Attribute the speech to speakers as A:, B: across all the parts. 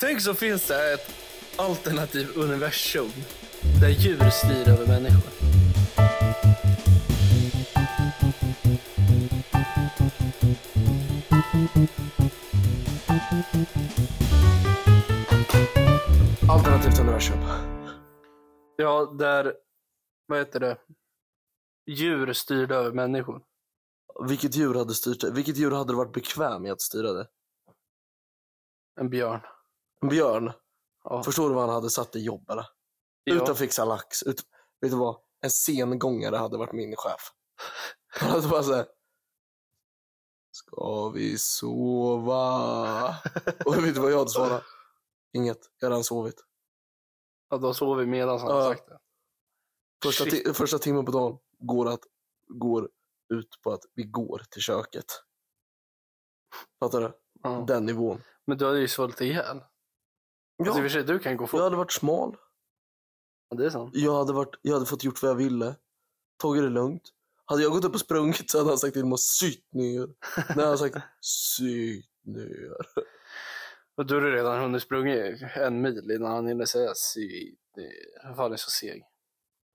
A: Tänk så finns det ett alternativ universum där djur styr över människor.
B: Alternativt universum.
A: Ja, där, vad heter det, djur styrde över människor.
B: Vilket djur hade styrt det? Vilket djur hade det varit bekväm i att styra det?
A: En björn.
B: En björn.
A: Ja.
B: Förstår du vad han hade satt i jobb eller? Ut
A: Ja.
B: och fixa lax. Ut, vet du vad? En sengångare hade varit min chef. Han hade bara såhär. Ska vi sova? Och vet du vad jag hade svarat? Inget. Jag hade redan sovit.
A: Ja, då sov vi medan han
B: Ja.
A: hade sagt det.
B: Första,
A: Shit.
B: ti- första timmen på dagen går, att, går ut på att vi går till köket. Fattar du?
A: Ja. Alltså,
B: Den nivån.
A: Men du hade ju svultit ihjäl. Alltså, i och för sig, du kan gå fort.
B: Jag hade varit smal.
A: Ja, det är sant.
B: Jag hade, varit, jag hade fått gjort vad jag ville. Tagit det lugnt. Hade jag gått upp och sprungit så hade han sagt till mig syt ner. Nej, han hade sagt syt ner.
A: Och du hade redan hunnit sprungit en mil innan han hinner säga si... det- Han fan är så seg.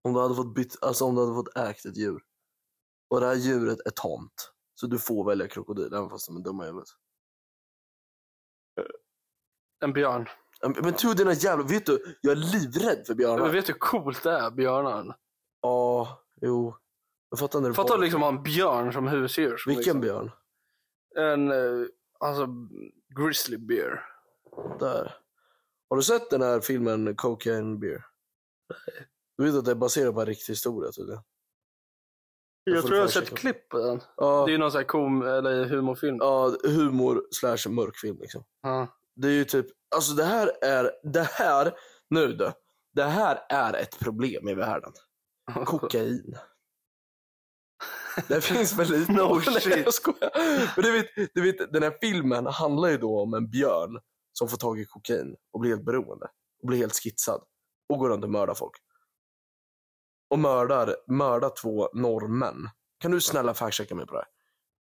B: Om du hade fått bytt, alltså om du hade fått ägt ett djur. Och det här djuret är tamt. Så du får välja krokodil även fast de är dumma i huvudet.
A: En björn.
B: Men- Men tur dina jävla, vet du? Jag är livrädd för
A: Men
B: björnar.
A: vet du hur coolt det är, björnar?
B: Ja, jo. Jag fattar när du
A: Fattar
B: bara-
A: du liksom ha en björn som husdjur? som liksom,
B: Vilken björn?
A: En, eh, alltså, grizzly bear.
B: Där. Har du sett den här filmen Cocaine Beer? Du vet att det är baserat på en riktig historia tydligen.
A: Jag
B: får
A: tror jag har
B: fan
A: sett
B: checka upp.
A: klipp på den.
B: Ja.
A: Det är ju någon sån här kom eller humorfilm.
B: Ja, humor slash mörkfilm liksom.
A: Ja.
B: Det är ju typ, alltså det här är, det här, nu du. Det här är ett problem i världen. Kokain. Det finns för lite. Oh,
A: No
B: Nej,
A: shit.
B: jag skojar. Men du vet, du vet, den här filmen handlar ju då om en björn som får tag i kokain och blir helt beroende. Och blir helt skitsad. Och går runt och mördar folk. Och mördar, mördar två norrmän. Kan du snälla fact-checka mig på det här?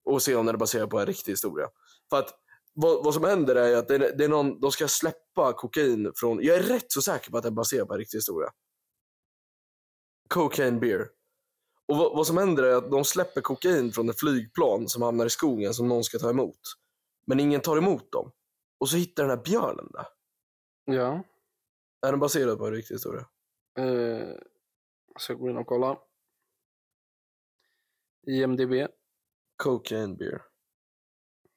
B: Och se om den är baserad på en riktig historia. För att vad, vad som händer är ju att det är, det är någon, de ska släppa kokain från... Jag är rätt så säker på att det är baserat på en riktig historia. Cocaine beer. Och vad, vad som händer är att de släpper kokain från ett flygplan som hamnar i skogen som någon ska ta emot. Men ingen tar emot dem. Och så hittar den här björnen där.
A: ja.
B: Är den baserad på en riktig historia?
A: Eh, jag ska gå in och kolla. IMDB.
B: Cocaine beer.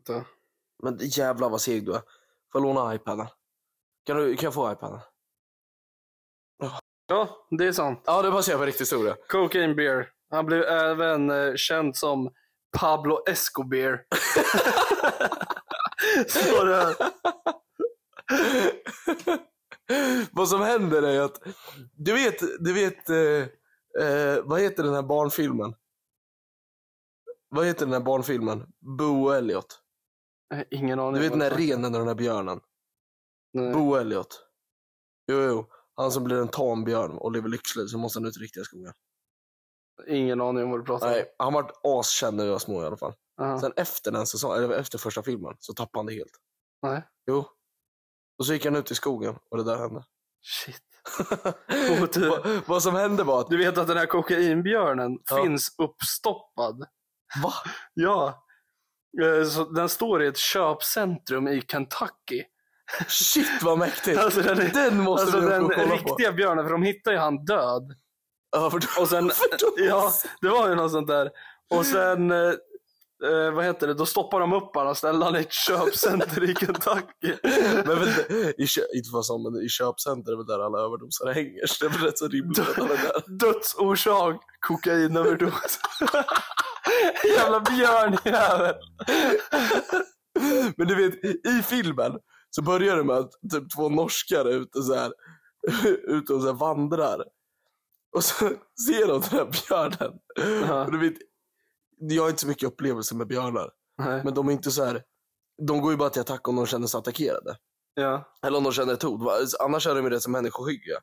A: Vänta.
B: Men jävlar vad seg du är. Får jag låna iPaden? Kan, du, kan jag få iPaden?
A: Ja, det är sant.
B: Ja, det är baserat på en riktig historia.
A: Cocaine Beer. Han blev även eh, känd som Pablo Escobar. Står det här.
B: vad som händer är att... Du vet, du vet... Eh, eh, vad heter den här barnfilmen? Vad heter den här barnfilmen? Bo och Elliot.
A: Eh, Ingen aning.
B: Du vet
A: vad
B: den där
A: det
B: renen och den där björnen?
A: är. Nej.
B: Bo Elliot. Jo, jo. Han som blir en tambjörn och lever lycklig så måste han ut i riktiga skogen.
A: Ingen aning om vad du pratar om.
B: Nej, han vart askänd när vi var små i alla fall.
A: Aha.
B: Sen efter den säsongen, eller efter första filmen, så tappade han det helt.
A: Nej.
B: Jo. Och så gick han ut i skogen och det där hände.
A: Shit. Otur.
B: Va, vad som hände var att...
A: Du vet att den här kokainbjörnen
B: Ja.
A: finns uppstoppad.
B: Va?
A: Ja. Eh, Så den står i ett köpcentrum i Kentucky.
B: Shit vad mäktigt!
A: Alltså, den är-
B: den måste
A: Alltså
B: vi upp
A: den
B: och kolla på.
A: riktiga björnen, för de hittar ju han död.
B: Ja, för
A: Och sen,
B: För då-
A: ja, det var ju något sånt där. Och sen, eh, eh, vad heter det, då stoppar de upp honom och ställer honom i ett köpcenter i Kentucky.
B: Men väl, i, kö- inte för som, men i köpcenter är väl där alla överdoser hänger. Så det är väl rätt så rimligt att han är där.
A: Dödsorsak, kokainöverdos. Jävla björnjävel.
B: Men du vet, i filmen så börjar det med att typ två norskar är ute så här, ute och så här vandrar. Och så ser de den här björnen.
A: Ja.
B: Och du vet, jag har inte så mycket upplevelse med björnar.
A: Nej,
B: Men de är inte så här, de går ju bara till attack om de känner sig attackerade.
A: Ja.
B: Eller om de känner ett hot. va? Annars är de ju rätt så människoskygga.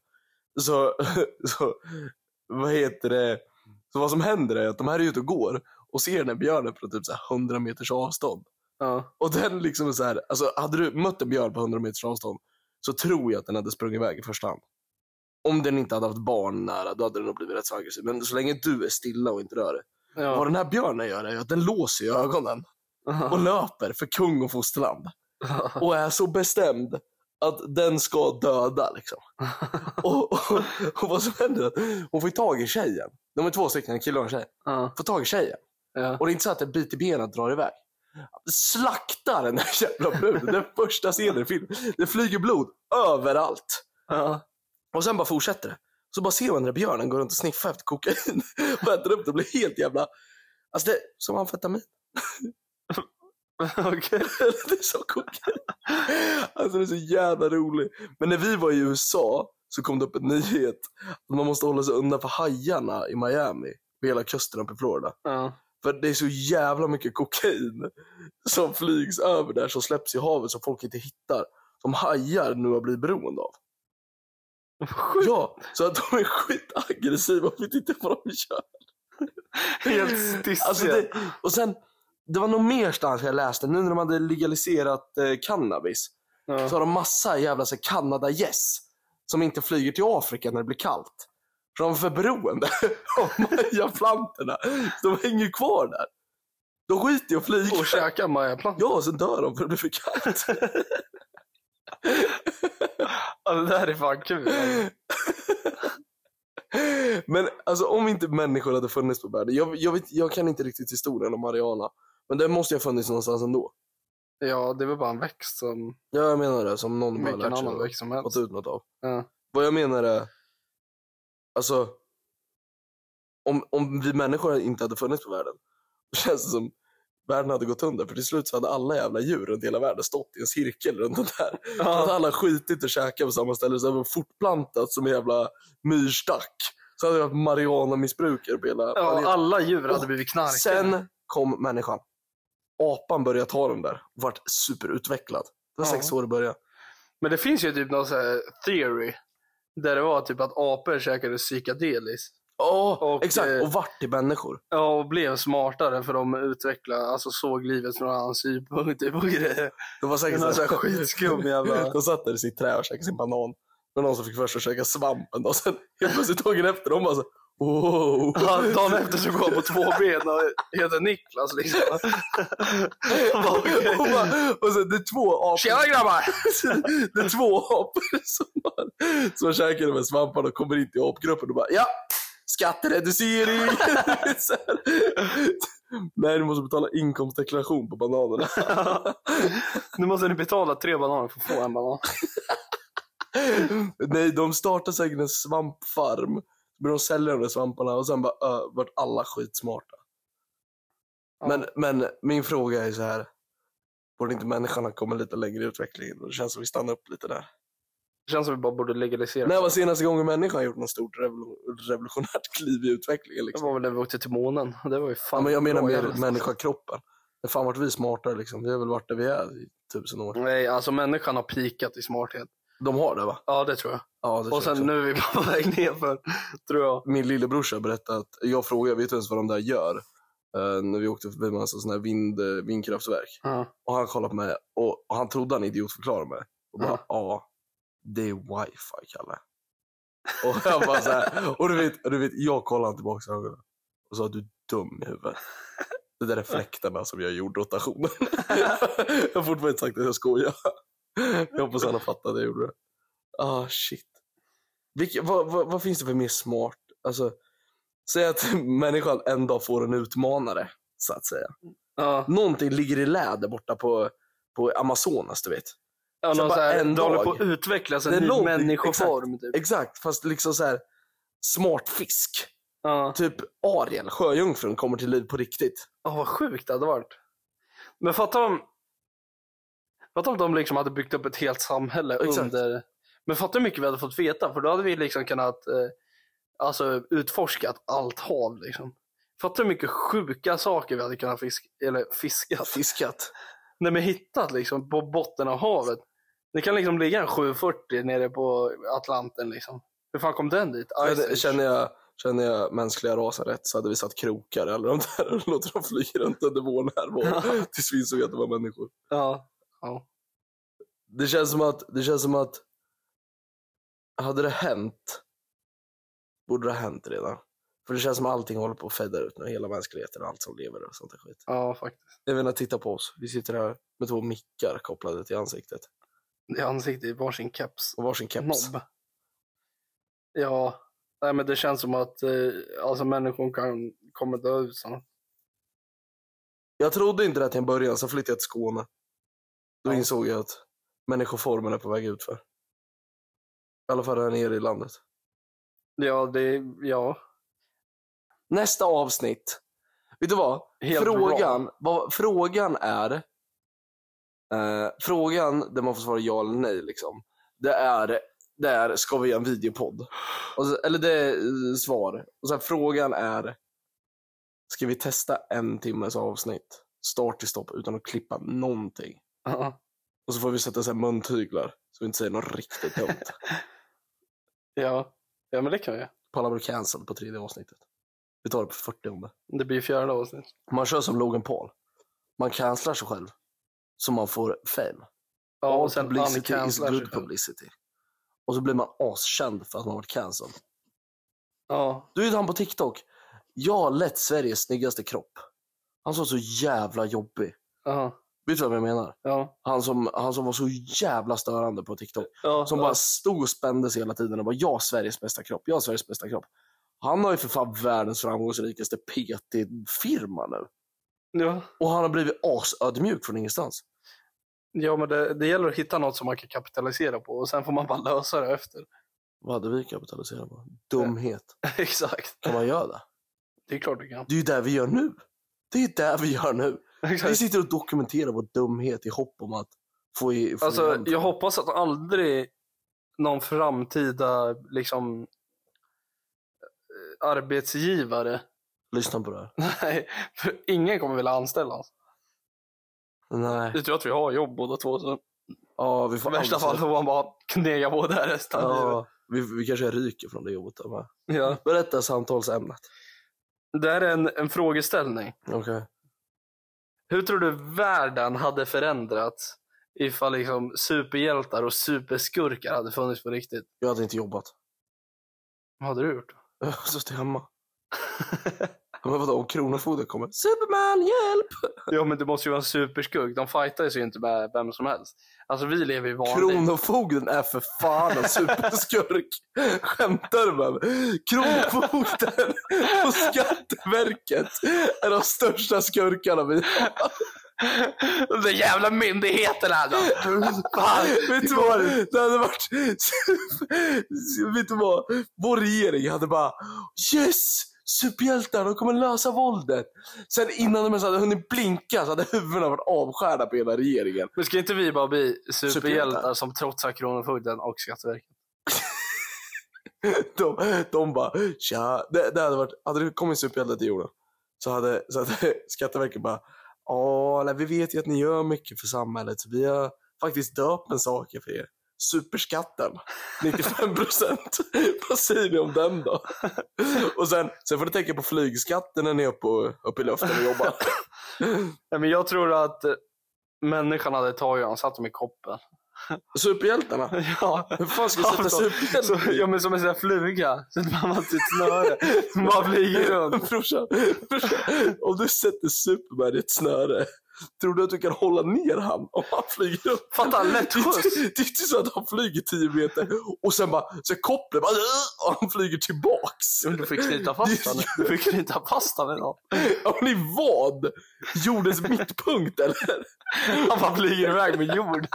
B: Så, så, vad heter det? Så vad som händer är att de här är ute och går och ser den här björnen på typ så här 100 meters avstånd.
A: Ja.
B: Och den liksom är så här, alltså hade du mött en björn på 100 meters avstånd så tror jag att den hade sprungit iväg i första hand. Om den inte hade haft barn nära, då hade den nog blivit rätt så aggressiv. Men så länge du är stilla och inte rör dig. Vad
A: Ja.
B: den här björnen gör är ju att den låser ju ögonen och löper för kung och fosterland. Och är så bestämd att den ska döda liksom. Och, och, och vad som händer är att hon får ju tag i tjejen. De är två stycken, en kille och en tjej.
A: Ja.
B: Får tag i tjejen.
A: Ja.
B: Och det är inte så att en bit i benet drar iväg. Slaktar den där jävla bruden. Den första scenen i filmen. Det flyger blod överallt.
A: Ja.
B: Och sen bara fortsätter det. Så bara ser man den där björnen gå runt och sniffa efter kokain. Och äter upp det och blir helt jävla... Alltså det är som amfetamin.
A: Okej.
B: det är så kokain. Alltså det är så jävla roligt. Men när vi var i USA så kom det upp en nyhet. Att man måste hålla sig undan för hajarna i Miami. På hela kusten uppe i Florida.
A: Ja.
B: För det är så jävla mycket kokain som flygs över där som släpps i havet som folk inte hittar. Som hajar nu har blivit beroende av. Ja, så att de är skitaggressiva och vet inte vad de gör.
A: Helt stissiga.
B: Alltså det, och sen, det var nog mer stans jag läste, nu när de hade legaliserat eh, cannabis
A: ja.
B: så har de massa jävla så här Kanada-gäss som inte flyger till Afrika när det blir kallt. För de är för beroende av majaplantorna. De hänger kvar där. De skiter i att flyga.
A: Och käka majaplantor.
B: Ja, sen dör de för det blir för kallt.
A: Ja, det där är fan kul. alltså.
B: Men alltså om inte människor hade funnits på världen. Jag, jag, vet, jag kan inte riktigt historien om Mariana. Men den måste ju ha funnits någonstans ändå.
A: Ja, det är väl bara en växt som
B: Ja, jag menar det. Som någon bara
A: vilken
B: lärt sig
A: annan
B: och
A: växt som
B: fått
A: helst.
B: ut något av.
A: Ja.
B: Vad jag menar är, alltså, om, om vi människor inte hade funnits på världen, då känns det som världen hade gått under. För till slut så hade alla jävla djur runt hela världen stått i en cirkel runt den där. Så hade
A: Ja.
B: alla skitit och käkat på samma ställe, så hade de fortplantat som en jävla myrstack. Så hade det varit marijuana-missbrukare på hela
A: ja,
B: planeten.
A: alla djur hade blivit knarkare.
B: Sen kom människan. Apan började ta den där och vart superutvecklad. Det var
A: Ja.
B: sex år i början.
A: Men det finns ju typ någon sån här theory. Där det var typ att apor käkade psykedelis.
B: Ja,
A: Och,
B: exakt.
A: eh,
B: Och vart till människor.
A: Ja, och blev smartare för de utvecklade, alltså såg livet från hans synpunkt typ och grejer.
B: Det var säkert
A: Den här
B: så här
A: så här skitskum jävla-
B: De satt där i sitt trä och käkade sin banan. Men någon som fick först att käka svampen och sen helt plötsligt dagen efter de bara så wow.
A: Ja, Dagen efter så går han på två ben och heter Niklas liksom. Han bara, okej.
B: och, bara, och sen det är två
A: Tjena
B: apor,
A: grabbar!
B: det är två apor som, har, som har käkat de här svamparna och kommer in till apgruppen och bara ja, skattereducering. Så här. Nej, du måste betala inkomstdeklaration på bananerna.
A: Nu måste ni betala tre bananer för att få en banan.
B: Nej, de startar säkert en svampfarm. Men de säljer de där svamparna och sen bara ö, vart alla skitsmarta.
A: Ja.
B: Men, men min fråga är så här. Borde inte människan ha kommit lite längre i utvecklingen? Det känns som vi stannar upp lite där.
A: Det känns som vi bara borde legalisera.
B: När var senaste gången människan har gjort något stort revolu- revolutionärt kliv i utvecklingen?
A: det
B: Liksom?
A: var väl när vi åkte till månen. Det var ju fan
B: Ja, men jag menar
A: bra
B: mer
A: jävla-
B: människakroppen. Men fan vart vi smartare liksom. Vi har väl varit där vi är i tusen år.
A: Nej, alltså människan har pikat i smarthet.
B: De har det va?
A: Ja, det tror jag.
B: Ja, det tror
A: Och sen
B: jag också.
A: nu är vi på väg nerför, tror jag.
B: min lillebrorsa berättade att jag frågade, vet du ens vad de där gör? Eh, när vi åkte förbi massa sådana här vind, eh, vindkraftverk.
A: Ja.
B: Och han kollade på mig och, och han trodde han idiotförklarade mig. Och bara,
A: Ja.
B: ja, det är wifi Kalle. Och jag bara så här, och du vet, och du vet jag kollade han tillbaka i ögonen och sa, du är dum i huvudet. Det där är fläktarna som jag gjorde rotationen. jag har fortfarande inte sagt att jag skojar. Jag hoppas han har fattat att jag gjorde det. Ah, shit. Vilke, vad, vad, vad finns det för mer smart? Alltså, säg att människan en dag får en utmanare, så att säga.
A: Ja.
B: Någonting ligger i lä där borta på, på Amazonas, du vet.
A: Ja,
B: Så
A: någon
B: bara
A: så här,
B: en
A: det håller
B: dag.
A: på att utvecklas en
B: Det är
A: ny
B: långt-
A: människoform. Typ.
B: Exakt, fast liksom så här smart fisk.
A: Ja.
B: Typ Ariel, sjöjungfrun, kommer till liv på riktigt.
A: Ja, vad sjukt det hade varit. Men fatta om, fatta om de liksom hade byggt upp ett helt samhälle
B: Exakt.
A: under... Men fatta hur mycket vi hade fått veta, för då hade vi liksom kunnat eh, alltså, utforskat allt hav. Liksom. Fatta hur mycket sjuka saker vi hade kunnat fiska, eller fiskat,
B: Fiskat.
A: nej men hittat liksom på botten av havet. Det kan liksom ligga en 740 nere på Atlanten liksom. Hur fan kom den dit? Ice
B: Känner,
A: Age.
B: känner, jag, känner jag mänskliga rasen rätt så hade vi satt krokar eller de där och låter dem flyga runt under vår närvaro tills vi insåg att det var människor.
A: Ja. ja.
B: Det känns som att, det känns som att hade det hänt, borde det ha hänt redan. För det känns som allting håller på att fejda ut nu, hela mänskligheten och allt som lever och sånt där skit.
A: Ja, faktiskt.
B: Jag menar, titta på oss. Vi sitter här med två mickar kopplade till ansiktet
A: I ansiktet i varsin keps.
B: och varsin keps.
A: Nobb. Ja, nej men det känns som att eh, alltså människan kan, kommer dö ut snart.
B: Jag trodde inte det till en början, sen flyttade jag till Skåne. Då
A: Ja.
B: insåg jag att människoformen är på väg utför. I alla fall här nere i landet.
A: Ja, det, ja.
B: Nästa avsnitt. Vet du vad?
A: Helt
B: frågan, vad, frågan är... Eh, frågan där man får svara ja eller nej, liksom, det är, det är ska vi göra en videopodd? Och så, eller det är eh, svar. Och sen frågan är, ska vi testa en timmes avsnitt? Start till stopp utan att klippa någonting.
A: Ja.
B: Och så får vi sätta så här muntyglar så vi inte säger något riktigt dumt.
A: ja. ja, men det kan vi göra.
B: Pallar blir cancelled på tredje avsnittet. Vi tar det på 40
A: Det blir fjärde avsnitt.
B: Man kör som Logan Paul. Man cancelar sig själv. Så man får fame.
A: Ja,
B: All
A: och sen
B: publicity is
A: uncancelar sig
B: good
A: själv.
B: publicity. Och så blir man askänd för att man varit cancelled.
A: Ja,
B: Du vet han på TikTok. Jag har lätt Sveriges snyggaste kropp. Han som var så jävla jobbig.
A: ja,
B: Vet du vad jag menar?
A: ja.
B: Han som, han som var så jävla störande på TikTok.
A: ja
B: Som
A: ja.
B: bara stod och spände sig hela tiden och bara jag har Sveriges bästa kropp, jag har Sveriges bästa kropp. Han har ju för fan världens framgångsrikaste PT-firma nu.
A: Ja,
B: Och han har blivit asödmjuk från ingenstans.
A: ja men det, det gäller att hitta något som man kan kapitalisera på och sen får man bara lösa det efter.
B: Vad hade vi kapitaliserat på? Dumhet.
A: Exakt.
B: Kan man göra det?
A: Det är klart du kan.
B: Det är ju det vi gör nu. Det är ju det vi gör nu. Vi
A: Exakt.
B: sitter och dokumenterar vår dumhet i hopp om att få, i, få
A: Alltså,
B: igen-
A: jag hoppas att aldrig någon framtida liksom, eh, arbetsgivare,
B: Lyssna på det här.
A: nej, för ingen kommer vilja anställa oss.
B: Nej.
A: Det tror jag att vi har jobb båda två. Så
B: Ja, vi
A: I
B: får
A: värsta
B: aldrig-
A: fall får man bara knega på där resten av livet.
B: Ja, vi, vi kanske ryker från det jobbet. där med.
A: Ja.
B: Berätta samtalsämnet.
A: Det här är en, en frågeställning.
B: Okej.
A: Hur tror du världen hade förändrats ifall liksom superhjältar och superskurkar hade funnits på riktigt?
B: Jag hade inte jobbat.
A: Vad hade du gjort?
B: Jag har suttit hemma. Men vadå, om Kronofogden kommer? Superman, hjälp!
A: ja, men det måste ju vara en superskurk. De fightar ju sig inte med vem som helst. Alltså, vi lever ju vanligt.
B: Kronofogden är för fan en superskurk! Skämtar du med mig? Kronofogden och Skatteverket är de största skurkarna vi
A: Den jävla alltså! myndigheten här då. Fan.
B: Vet du vad? Det hade varit... Vet du vad? Vår regering hade bara Yes! Superhjältar, de kommer lösa våldet. Sen innan de ens hade hunnit blinka så hade huvudena varit avskärda på hela regeringen.
A: Men ska inte vi bara bli
B: Superhjältar.
A: superhjältar som trotsar Kronofogden och Skatteverket?
B: De, de bara tja. Det, det hade varit, hade det kommit superhjälte till jorden så hade, så hade Skatteverket bara ja, nej, vi vet ju att ni gör mycket för samhället så vi har faktiskt döpt en sak för er. Superskatten, 95 procent. Vad säger ni om den då? Och sen, sen får du tänka på flygskatten när ni är uppe, uppe i luften och jobbar.
A: Nej, men jag tror att eh, människan hade tagit honom, satt dem i koppen.
B: Superhjältarna,
A: ja.
B: hur fan ska vi
A: Ja,
B: sätta
A: så- Så,
B: superhjältar?
A: ja, men som en sån där fluga. Så att man har sitt snöre. Man bara flyger runt.
B: Brorsan, brorsan, om du sätter Superman i ett snöre, tror du att du kan hålla ner han om han flyger upp?
A: Fatta, lätt
B: Det är inte-
A: skjuts.
B: det är inte så att han flyger 10 meter och sen bara, så kopplar bara, och han flyger tillbaks.
A: Men Du får knyta fast honom. Du får knyta fast honom idag.
B: Ja, men i vad? Jordens mittpunkt eller?
A: Han bara flyger iväg med jorden.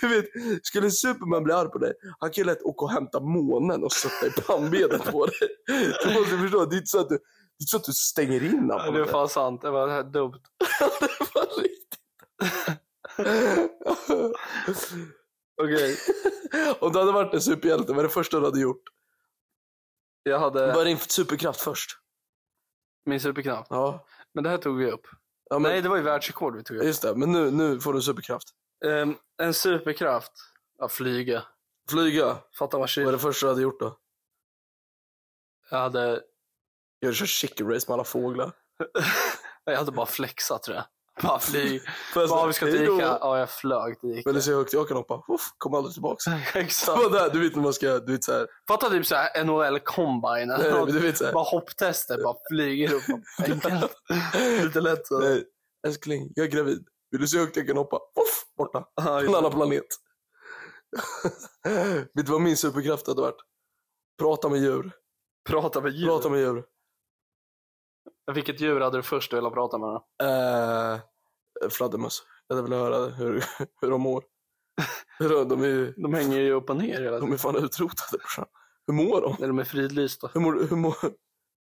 B: Du vet, skulle Superman bli arg på dig, han kan ju lätt åka och hämta månen och sätta i pannbenet på dig. Du måste förstå, det är inte så att du, det är inte så att du stänger in honom.
A: Ja,
B: på
A: det är
B: något
A: fan sant. Det var här dumt.
B: sätt. Vad riktigt.
A: Okej,
B: Om du hade varit en superhjälte, vad är det första du hade gjort?
A: jag
B: Vad
A: hade
B: är din superkraft först?
A: min superknapp.
B: Ja.
A: Men det här tog vi upp.
B: ja men,
A: Nej, det var ju världsrekord vi tog upp.
B: Just det, men nu, nu får du superkraft.
A: Ehm, en superkraft. Ja, flyga.
B: Flyga,
A: Fattar vad
B: vad är
A: kyl.
B: det första du hade gjort då?
A: Jag hade,
B: Jag kör chicken race med alla fåglar.
A: jag hade bara flexat tror jag. Bara flyg.
B: Får jag
A: Bara
B: säga,
A: vi ska
B: Alltså, hej
A: till
B: då?
A: Ica. Ja, jag flög till Ica.
B: Men du ser hur högt jag kan hoppa. Uff, kom aldrig tillbaka.
A: Exakt.
B: Så där, du vet när man ska, du vet såhär.
A: Fatta typ såhär NHL Combine.
B: Nej,
A: eller
B: nej,
A: något.
B: men du vet såhär.
A: Bara hopptester, bara flyger upp. Enkelt. Lite lätt så.
B: Nej, älskling, jag är gravid. Vill du se hur högt jag kan hoppa? Uff, borta.
A: Ja,
B: På
A: just
B: en
A: det.
B: annan planet. vet du vad min superkraft hade varit? Prata med djur.
A: Prata med djur.
B: Prata med djur.
A: Vilket djur hade du först velat prata med? Då?
B: Eh, fladdermöss. Jag hade velat höra hur, hur de mår. Hur de, de, är,
A: De hänger ju upp och ner hela tiden.
B: de är fan utrotade brorsan. Hur mår de?
A: Eller de är fridlysta.
B: Hur mår, hur mår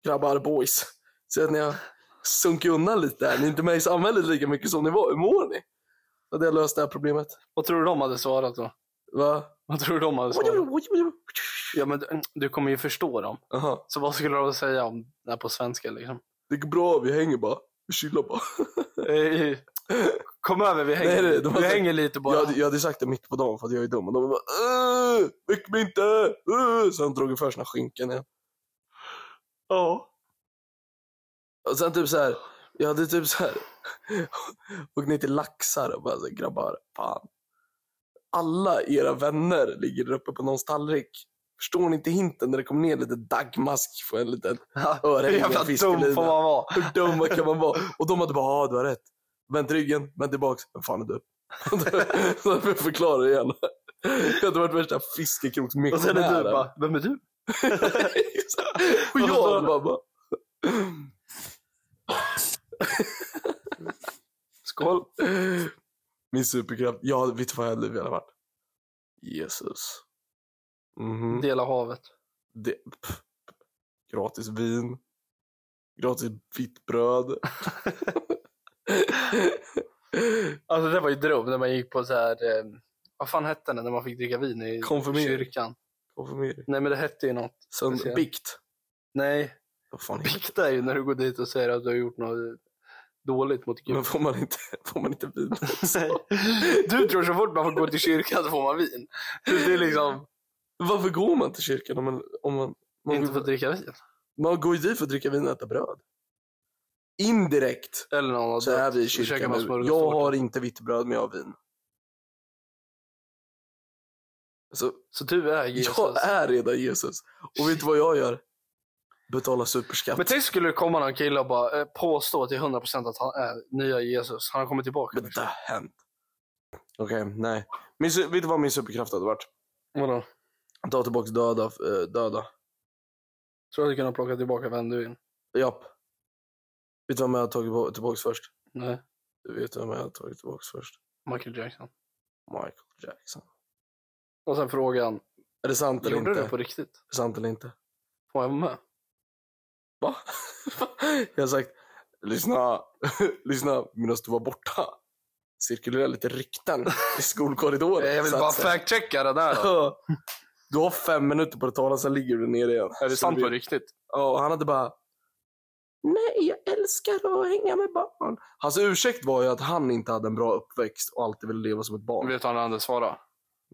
B: grabbar boys? Så att ni har sunkit undan lite här. Ni är inte med i samhället lika mycket som ni var. Hur mår ni? Då hade jag löst det här problemet.
A: Vad tror du de hade svarat då?
B: Va?
A: Vad tror du de hade svarat? Ja, men du- du kommer ju förstå dem.
B: Aha.
A: Så vad skulle de säga om det här på svenska liksom?
B: Det går bra, vi hänger bara. Vi chillar bara.
A: Eh, Kom över, vi hänger,
B: Nej, nej, de har
A: vi
B: sagt-
A: hänger lite bara.
B: Jag hade, jag hade sagt det mitt på dagen för att jag är dum. Och de bara "Åh, Väck mig inte! Åh!" Så han drog för sina skinkan igen.
A: Ja.
B: Och sen typ så här. Jag hade typ så här. Åkt ner till laxar och bara så här, grabbar, fan. Alla era vänner ligger där uppe på någons tallrik. Förstår ni inte hinten när det kommer ner lite dagmask på en liten örhänge?
A: Jävla dum får
B: och fiskelina?
A: man vara.
B: Hur dumma kan man vara? Och de hade bara, ja du har rätt. Vänd ryggen, vänd tillbaks. Vem fan är du? Så jag förklarar det igen. Jag hade varit värsta fiskekroksmissionären.
A: Och sen är du bara, vem är du?
B: Och jag hade bara, bara,
A: Skål.
B: min superkraft. Ja, vet du vad jag hade velat varit? Jesus. Mhm.
A: Dela havet.
B: Det, pff, gratis vin. Gratis vitt bröd.
A: Alltså det var ju dröm när man gick på så här, eh, vad fan hette det när man fick dricka vin i
B: Konfirmering.
A: kyrkan?
B: Konfirmering.
A: Nej men det hette ju något.
B: Sen
A: Speciellt.
B: bikt.
A: Nej,
B: Vad fan heter
A: bikta är ju när du går dit och säger att du har gjort något dåligt mot
B: det?
A: Gud.
B: Men får man inte, får man inte vin också?
A: Nej. Du tror så fort man får gå till kyrkan så får man vin. Det är liksom,
B: Varför går man till kyrkan om man... Om man, man,
A: inte får dricka vin.
B: man går ju dit för att dricka vin och äta bröd. Indirekt
A: Eller någon har
B: så är
A: dött.
B: vi i
A: Så käkar
B: kyrkan
A: man
B: nu.
A: smörgåstårta.
B: Jag har inte vitt bröd men jag har vin. Alltså,
A: Så du är Jesus.
B: jag är redan Jesus. Och vet du vad jag gör? Betalar superskatt.
A: Men tänk skulle det komma någon kille och bara eh, påstå till 100% att han är nya Jesus. Han kommer tillbaka.
B: Men det har hänt. Okej, nej. Min, su- vet du vad min superkraft hade varit?
A: Vadå?
B: Ta tillbaka döda. eh, döda.
A: Tror du att du kan plocka tillbaka vem du vill?
B: Japp. Vet du vem jag har tagit tillbaka först?
A: Nej.
B: Du vet vem jag har tagit tillbaka först?
A: Michael Jackson.
B: Michael Jackson.
A: Och sen frågan,
B: Är det sant eller
A: gjorde du
B: inte? Är
A: det på riktigt?
B: det sant eller inte?
A: Får jag vara med?
B: Va? jag har sagt, lyssna, lyssna medan du var borta. Cirkulera lite rykten i skolkorridoren.
A: Eh, Jag vill
B: Så att
A: bara
B: säga.
A: fact-checka det där då.
B: Ja. Du har fem minuter på att tala, sen ligger du ner igen.
A: Är det sant på riktigt?
B: Ja, och han hade bara... Nej, jag älskar att hänga med barn. Hans ursäkt var ju att han inte hade en bra uppväxt och alltid ville leva som ett barn.
A: Vet du vad han hade svarat?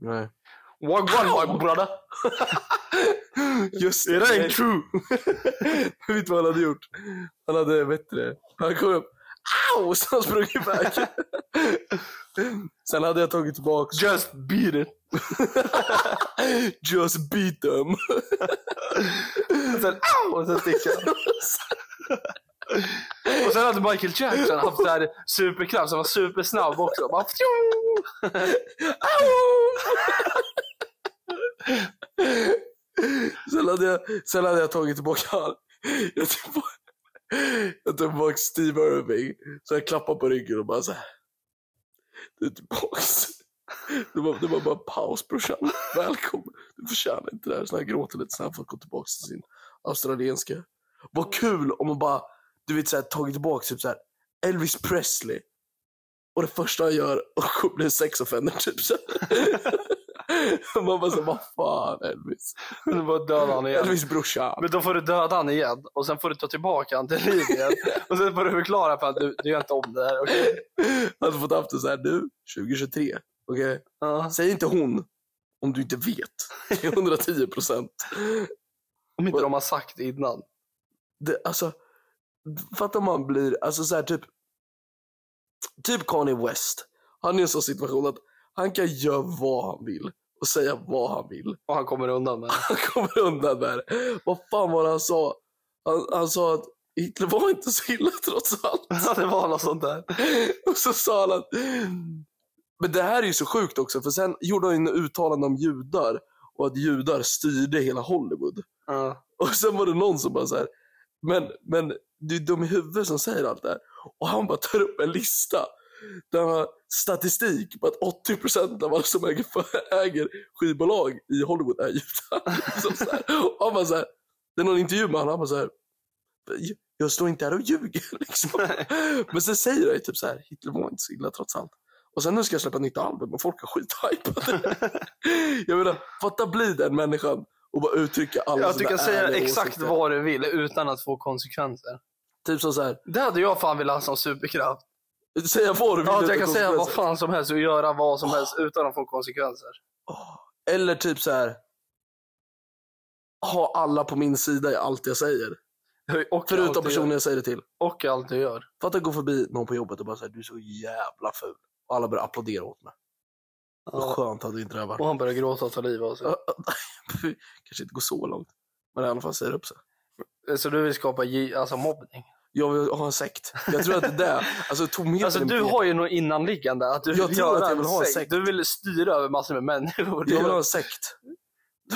B: Nej.
A: Wagwan my brother!
B: Just
A: It ain't
B: true. vet du vad han hade gjort? Han hade, vet du det? Han kom upp. Au! Så han sprang iväg. Sen hade jag tagit tillbaka.
A: Just beat it!
B: Just beat them.
A: Och sen, "Au!" och sen sticker han. Och sen hade Michael Jackson haft så här superkraft, så han var supersnabb också. Bara, fjong!
B: sen, hade jag, sen hade jag tagit tillbaka han. Jag tog tillbaka, jag tog tillbaka Steve Irving. Så jag klappade på ryggen och bara så här. Du är tillbaks. Det var, det var bara paus brorsan. Välkommen. Du förtjänar inte det här. Så han gråter lite snabbt för att gå tillbaka till sin australienska. Vad kul om man bara, du vet så här, tagit tillbaka typ så här, Elvis Presley. Och det första han gör och blir en sex offender typ så här. Man bara så här, vad fan Elvis.
A: Nu bara dödade han igen.
B: Elvis brorsa.
A: Men då får du döda han igen och sen får du ta tillbaka han till liv igen. Och sen får du förklara för att du, du gör inte om det här. okej?
B: Han hade fått haft det så här nu, 2023. Okej?
A: Ja.
B: Säg inte hon om du inte vet. Det är 110 procent.
A: Om inte de har sagt innan.
B: Alltså, fatta om man blir, alltså så här typ. typ Kanye West, han är i en sån situation att han kan göra vad han vill och säga vad han vill.
A: Och han kommer undan med det.
B: Han kommer undan där. Vad fan var det han sa? Han, han sa att Hitler var inte så illa trots allt.
A: Ja, det var något sånt där.
B: Och så sa han att... Men det här är ju så sjukt också, för sen gjorde han ju en uttalande om judar och att judar styrde hela Hollywood.
A: Ja.
B: Och sen var det någon som bara så här, men, men det är dum i huvudet som säger allt det här. Och han bara tar upp en lista där han har statistik på att 80% av alla som äger, äger skivbolag i Hollywood är judar. Som så här. Och han bara så här, det är någon intervju med honom, han bara så här, jag står inte här och ljuger liksom. Men sen säger jag ju typ så här, Hitler var inte så illa trots allt. Och sen nu ska jag släppa ett nytt album och folk är skithypade. jag menar, fatta bli den människan och bara uttrycka alla
A: Ja, att du
B: sina
A: kan säga
B: ärliga
A: exakt
B: åsikter.
A: vad du vill utan att få konsekvenser.
B: Typ som så här,
A: Det hade jag fan velat ha som superkraft.
B: säga vad du vill
A: Ja, att
B: utan
A: jag kan säga vad
B: konsekvenser.
A: fan som helst och göra vad som helst utan att få konsekvenser.
B: Åh. Eller typ så här, ha alla på min sida i allt jag säger.
A: Och allt
B: Förutom
A: du
B: personen
A: gör.
B: jag säger det till.
A: Och allt du gör.
B: Fatta att gå förbi någon på jobbet och bara säga du är så jävla ful. Och alla börjar applådera åt mig. Vad
A: Ja.
B: skönt hade inte det här varit.
A: Och han börjar gråta och ta livet av sig.
B: Kanske inte gå så långt. Men i alla fall säger det upp sig.
A: Så du vill skapa gi- alltså mobbning?
B: Jag vill ha en sekt. Jag tror att det är det. Alltså tomheten.
A: Alltså du har ju något innanliggande. Att du
B: Jag
A: vill
B: tror
A: göra
B: att jag vill ha en sekt.
A: Du vill styra över massor med människor.
B: Jag vill ha en sekt.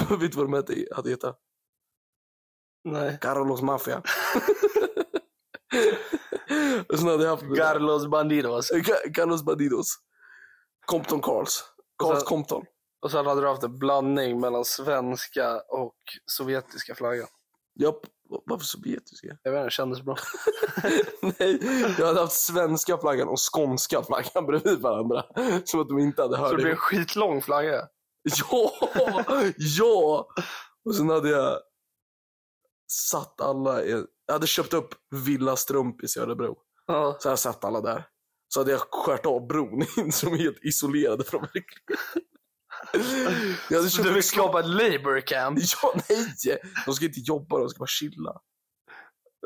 B: Du vet vad de hette- hade hetat?
A: Nej.
B: Carlos Mafia. Och sen hade Alltså, jag haft...
A: Carlos Bandidos.
B: Ga- Carlos Bandidos. Compton Carls. Carls
A: Alltså-
B: Compton.
A: Och sen hade du haft en blandning mellan svenska och sovjetiska flaggan.
B: Japp. Varför sovjetiska?
A: Jag vet inte, det kändes bra.
B: Nej, jag hade haft svenska flaggan och skånska flaggan bredvid varandra. Som att de inte hade hört
A: Så det blir
B: ihop.
A: en skitlång flagga.
B: Ja! Ja! Och sen hade jag satt alla i... Jag hade köpt upp Villa Strumpis i Örebro.
A: Ja.
B: Så jag satt alla där. Så hade jag skärt av bron in som är helt isolerade från verkligheten. Jag hade
A: Så
B: köpt
A: du
B: upp
A: vill skapa ett labor camp.
B: Ja, nej! De ska inte jobba, de ska bara chilla.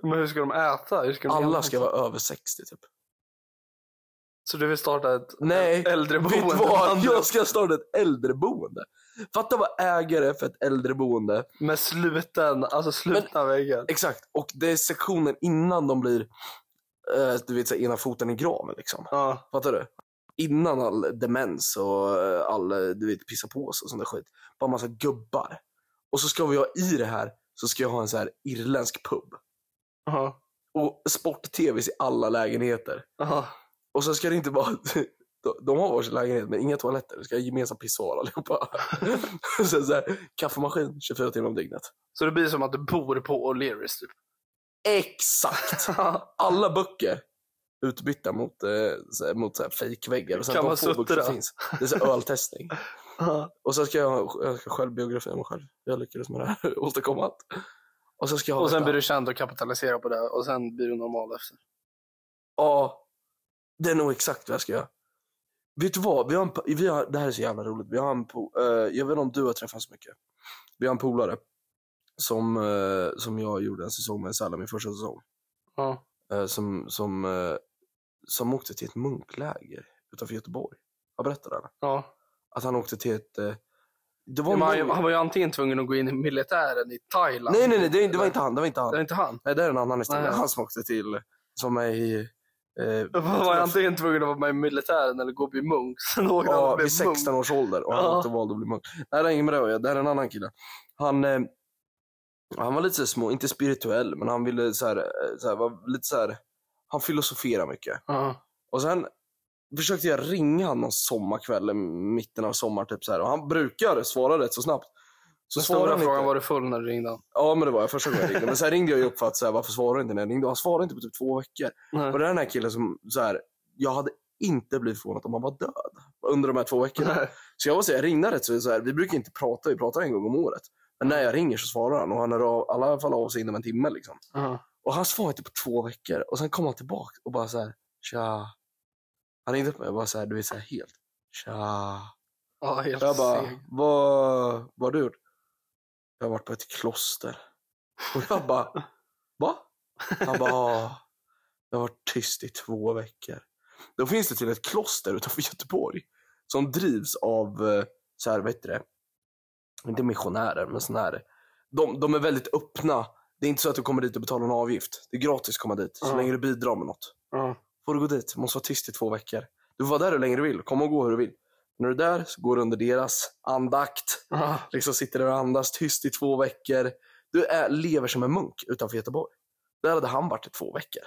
A: Men hur ska de äta? Hur ska de
B: Alla
A: leva?
B: ska vara över 60 typ.
A: Så du vill starta ett
B: Nej,
A: ett äldreboende?
B: Vet du
A: med
B: vad?
A: andra-
B: Jag ska starta ett äldreboende. Fatta vad ägare för ett äldreboende.
A: Med sluten, alltså slutna väggar.
B: Exakt, och det är sektionen innan de blir, eh, du vet, så här, ena foten i graven liksom.
A: Ja.
B: Fattar du? Innan all demens och eh, all, eh, du vet, pissa på sig och sån där skit. Bara massa gubbar. Och så ska vi ha i det här, så ska jag ha en så här irländsk pub.
A: Ja.
B: Och sport-tvs i alla lägenheter.
A: Ja.
B: Och sen ska det inte vara... de- De har varsin lägenhet men inga toaletter. Det ska ha gemensam pissoar allihopa. sen så här, kaffemaskin 24 timmar om dygnet.
A: Så det blir som att du bor på O'Learys typ.
B: Exakt! Alla böcker utbytta mot, eh, så här, mot så här fejkväggar. Och sen
A: Kan
B: de
A: man
B: få böcker
A: suttra?
B: som finns. Det är så här öltestning.
A: Ja.
B: Och sen ska jag ha jag ska själv biografi om mig själv. Jag lyckades med det här återkommande. Och sen ska jag ha
A: Och sen
B: detta.
A: blir du känd och kapitaliserar på det och sen blir du normal efter.
B: Ja, det är nog exakt vad jag ska göra. Vet du vad? Vi har en, po- vi har, det här är så jävla roligt. Vi har en, po- eh, jag vet inte om du har träffat så mycket. Vi har en polare som, eh, som jag gjorde en säsong med, Salla, min första säsong.
A: Ja.
B: eh, som, som, eh, som åkte till ett munkläger utanför Göteborg. Jag berättade det.
A: Ja.
B: Att han åkte till ett... eh, det var
A: Men han,
B: någon-
A: han var ju antingen tvungen att gå in i militären i Thailand.
B: nej, nej, nej, det, det var inte han. Det var inte
A: Det är
B: han.
A: inte han.
B: Nej, det är en annan historia.
A: Nej.
B: Han som åkte till... Som är i... Eh,
A: Han var antingen tvungen att vara med i militären eller gå och bli munk. Sen åkte han
B: Ja,
A: och blev
B: vid 16
A: munk.
B: års ålder och
A: Ja.
B: han inte valde att bli munk. Nej, det är inget med det att göra. Det här är en annan kille. Han, eh, han var lite så här små, inte spirituell, men han ville så här, eh, så här, var lite så här, han filosoferade mycket.
A: Ja.
B: Och sen försökte jag ringa honom någon sommarkväll, i mitten av sommar typ så här. Och han brukar svara rätt så snabbt. Så
A: Den
B: svarade
A: stora
B: han
A: frågan
B: inte.
A: var du full när du ringde han?
B: Ja, men det var jag första gången jag ringde. Men sen ringde jag ju upp för att så här, varför svarar du inte när jag ringde? Han svarade inte på typ två veckor. Och
A: Nej.
B: det är den här killen som så här, jag hade inte blivit förvånad om han var död under de här två veckorna.
A: Nej.
B: Så jag var så här, jag ringde rätt så, så här, vi brukar inte prata, vi pratar en gång om året. Men när jag ringer så svarar han och han är av, i alla fall av sig inom en timme liksom.
A: Ja.
B: Och han svarade inte på två veckor och sen kom han tillbaka och bara så här, tja. Han ringde upp mig och bara så här, du vet så här helt, tja.
A: Ja, helt
B: Jag bara,
A: seg.
B: vad, vad har du gjort? Jag har varit på ett kloster. Och jag bara, va? Han bara, "Ja, jag har varit tyst i två veckor. Då finns det till ett kloster utanför Göteborg som drivs av, eh, så här, vad heter det? Inte missionärer, men sån här. De, de är väldigt öppna. Det är inte så att du kommer dit och betalar en avgift. Det är gratis att komma dit, så
A: Ja.
B: länge du bidrar med något.
A: Ja.
B: Får du gå dit, måste vara tyst i två veckor. Du får vara där hur länge du vill, kom och gå hur du vill. När du är där så går du under deras andakt
A: Ja.
B: liksom sitter där och andas tyst i två veckor. Du är, lever som en munk utanför Göteborg. Där hade han varit i två veckor.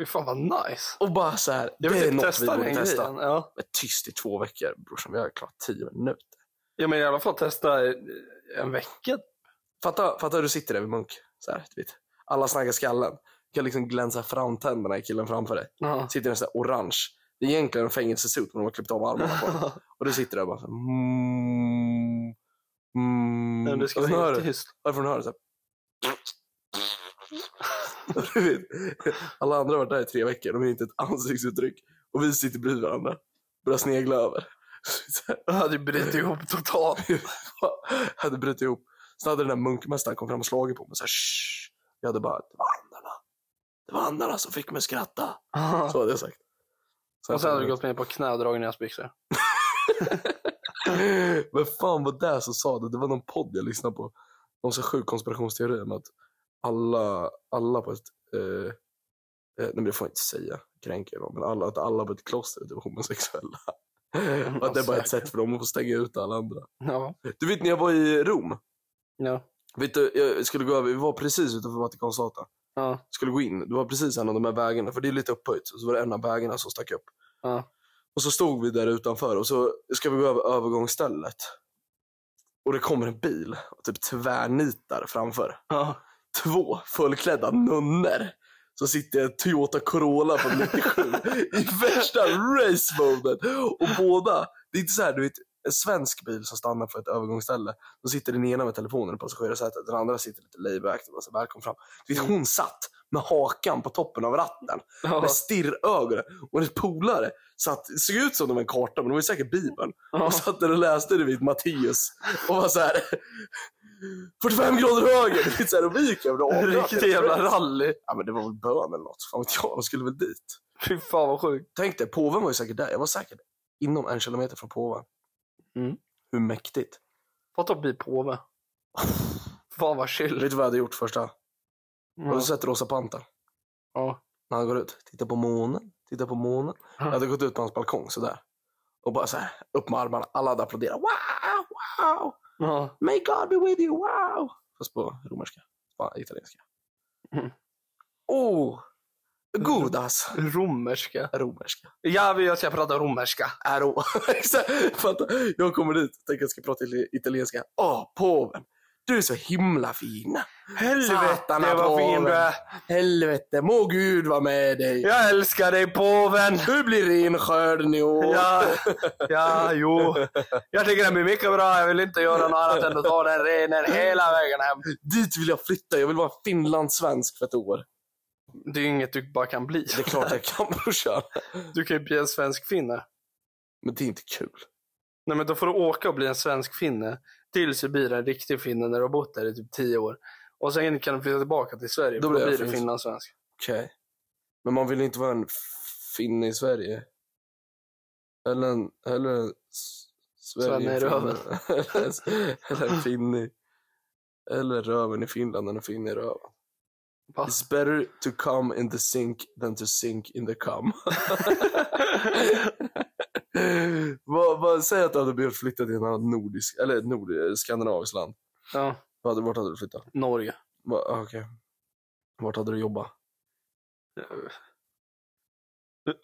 A: Fy fan vad nice.
B: Och bara så här, det
A: Jag vill
B: är
A: typ
B: något vi
A: testa
B: borde
A: den
B: testa.
A: grejen. Ja.
B: Men tyst i två veckor, brorsan, vi har klarat tio minuter.
A: ja, men i alla fall testa eh, en vecka.
B: Fatta, fatta hur du sitter där vid munk. Så här, du vet. Alla snaggar skallen. Du kan liksom glänsa framtänderna i killen framför dig.
A: Ja.
B: Sitter en så här orange. Det är egentligen en fängelsesuit, men de har klippt av armarna på den. Och du sitter där och bara så här, mm, mm.
A: Men det ska
B: Och så hör
A: vara
B: du-
A: tyst.
B: Varför hon hör det så här. Du vet, Alla andra har varit där i tre veckor. De har inte ett ansiktsuttryck. Och vi sitter bredvid varandra. Börjar snegla över. Så här,
A: Jag hade ju brutit ihop totalt.
B: hade brutit ihop. Sen hade den där munkmästaren kom fram och slagit på mig. Så här, "Shh." jag hade bara, det var andarna. Det var andarna som fick mig skratta. Så hade jag sagt.
A: Och sen hade du gått med på knä och dragit ner hans byxor.
B: Men fan vad det som sa det. Det var någon podd jag lyssnade på. Någon så sjuk konspirationsteori om att alla, alla på ett... Eh, eh, nej men det får jag inte säga. Kränker någon. Men alla, att alla på ett kloster typ homosexuella. Och att det är bara ett sätt för dem att få stänga ut alla andra.
A: Ja.
B: Du vet när jag var i Rom.
A: Ja.
B: Vet du, jag skulle gå över, vi var precis utanför Vatikanstaten.
A: Ja.
B: Skulle gå in, det var precis en av de här vägarna. För det är lite upphöjt. Så var det en av vägarna som stack upp.
A: Ja.
B: Och så stod vi där utanför och så ska vi gå över övergångsstället. Och det kommer en bil och typ tvärnitar framför.
A: Ja.
B: Två fullklädda nunnor. Så sitter en Toyota Corolla från 97 i värsta racemoden. Och båda, det är inte så här, du vet, en svensk bil som stannar för ett övergångsställe. Då sitter den ena med telefonen i passagerarsätet, den andra sitter lite layback och bara så här, välkommen fram. Du vet, hon satt med hakan på toppen av ratten
A: Ja.
B: med stirrögon. Och en polare satt, såg ut som de var en karta, men de var ju säkert Bibeln.
A: Ja.
B: Och satt där och läste det vid Matteus. Och var så här 45 grader höger! Det är så här, och vi gick över och avbröt
A: Riktigt
B: det.
A: jävla rally.
B: Ja men det var väl bön eller något. Fan vet jag, de skulle väl dit.
A: Fy fan vad sjukt.
B: Tänk dig, påven var ju säkert där. Jag var säkert inom en kilometer från påven.
A: Mm.
B: Hur mäktigt.
A: Fatta att bli påve. Fan vad
B: Vet
A: chill.
B: du vad jag hade gjort första? Har du
A: Ja.
B: sett Rosa Pantern?
A: Ja.
B: När han går ut. Titta på månen. Titta på månen. Jag hade gått ut på hans balkong sådär. Och bara så här, upp med armarna. Alla hade applåderat. Wow, wow!
A: Ja.
B: May God be with you, wow! Fast på romerska. Spa- italienska.
A: Mm.
B: Oh! Godas!
A: Romerska.
B: Romerska.
A: Ja, vi- jag ska prata romerska.
B: Aro. Exakt. Fatta, jag kommer dit och tänker att jag ska prata itali- italienska. Åh, påven! Du är så himla fin!
A: Helvete vad fin du är.
B: Helvete, må Gud vara med dig!
A: Jag älskar dig påven.
B: Du blir renskörd nu!
A: Ja, ja, jo. Jag tycker det blir mycket bra. Jag vill inte göra något annat än att ta den renen hela vägen hem.
B: Dit vill jag flytta, jag vill vara finlandssvensk för ett år.
A: Det är ju inget du bara kan bli.
B: Det är klart jag kan brorsan.
A: Du kan ju bli en svensk finne.
B: Men det är inte kul.
A: Nej, men då får du åka och bli en svensk finne tills du blir en riktig finne när du har bott där i typ tio år. Och sen kan du flytta tillbaka till Sverige.
B: Då
A: Då,
B: blir
A: då
B: jag
A: blir du
B: finsk.
A: finlandssvensk.
B: Okej. Men man vill inte vara en finne i Sverige. Eller en... Eller en s-
A: Svenne i röven.
B: eller, en s- eller en finne. i- Eller röven i Finland än en finne i röven.
A: Va?
B: It's better to come in the sink than to sink in the cum. vad, vad, säg att du hade behövt flytta till ett annat nordisk, eller ett nord, eh, skandinaviskt land.
A: Ja,
B: Vad- Vart hade du flyttat?
A: Norge.
B: Va- ah, Okej. Vart hade du jobbat?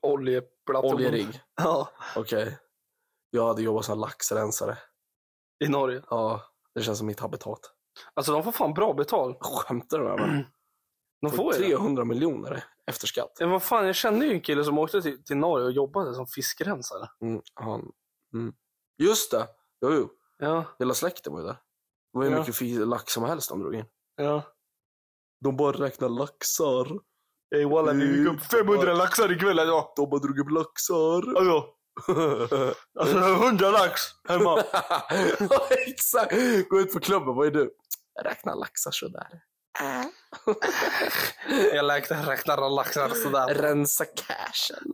A: Oljeplaton.
B: Oljerigg.
A: Ja,
B: Okej. Jag hade jobbat som laxrensare.
A: i Norge.
B: Ja, det känns som mitt habitat.
A: Alltså de får fan bra betalt.
B: Skämtar du med mig?
A: De får ju det.
B: 300 miljoner efter skatt.
A: Men vad fan, jag kände ju en kille som åkte till, till Norge och jobbade som fiskrensare.
B: Mm, han, mm. Just det! Jo, jo.
A: Ja,
B: Hela släkten var ju där. Det var ju
A: Ja.
B: mycket fi- lax som helst de drog in.
A: ja.
B: De bara räknar laxar.
A: Ey walla, vi gick upp 500 Mm. laxar ikväll alltså.
B: De bara drog upp laxar.
A: Alltså, alltså 100 lax hemma.
B: Ja, Exakt! Gå ut på klubben, vad är du? Räkna laxar sådär.
A: Äh. Jag räknar, räknar laxar sådär.
B: Rensa cashen.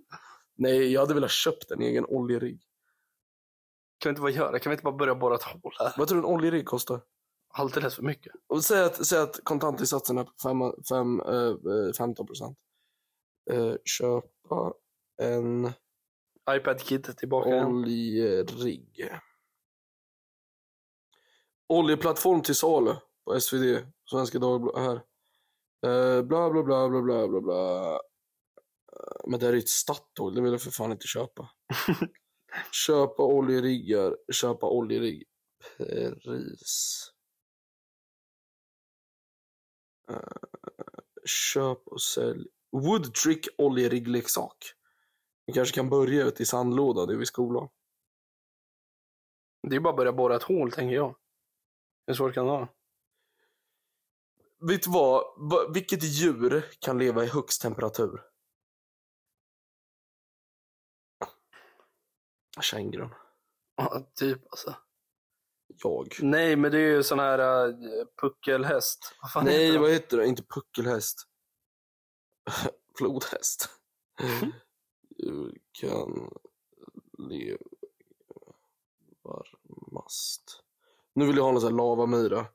B: Nej, jag hade velat köpt en egen oljerigg.
A: Kan vi inte bara göra? Kan vi inte bara börja borra ett hål här?
B: Vad tror du en oljerigg kostar?
A: Alldeles för mycket.
B: Och säg, att, säg att kontantinsatsen är på fem, fem, eh, eh, 15 procent. Eh, köpa en
A: iPad Kid tillbaka igen.
B: oljerigg. Oljeplattform till salu på SvD, Svenska Dagbladet här. Eh, bla, bla, bla, bla, bla, bla, bla. Eh, Men det här är ju ett stadtål, det vill jag för fan inte köpa. köpa oljeriggar, köpa oljerigg. Pris. Eh, köp och sälj. Woodtrick oljeriggleksak. Vi kanske kan börja ute i sandlådan där vid skolan.
A: Det är ju bara att börja borra ett hål, tänker jag. Hur svårt kan det vara?
B: Vet du vad? Va- Vilket djur kan leva i högst temperatur? Kängurun.
A: Ja, typ alltså.
B: Jag.
A: Nej, men det är ju sån här äh, puckelhäst. Vad fan heter
B: Nej,
A: de?
B: vad heter det? Inte puckelhäst. Flodhäst.
A: Mm.
B: Djur kan leva varmast. Nu vill jag ha någon sån här lavamyra.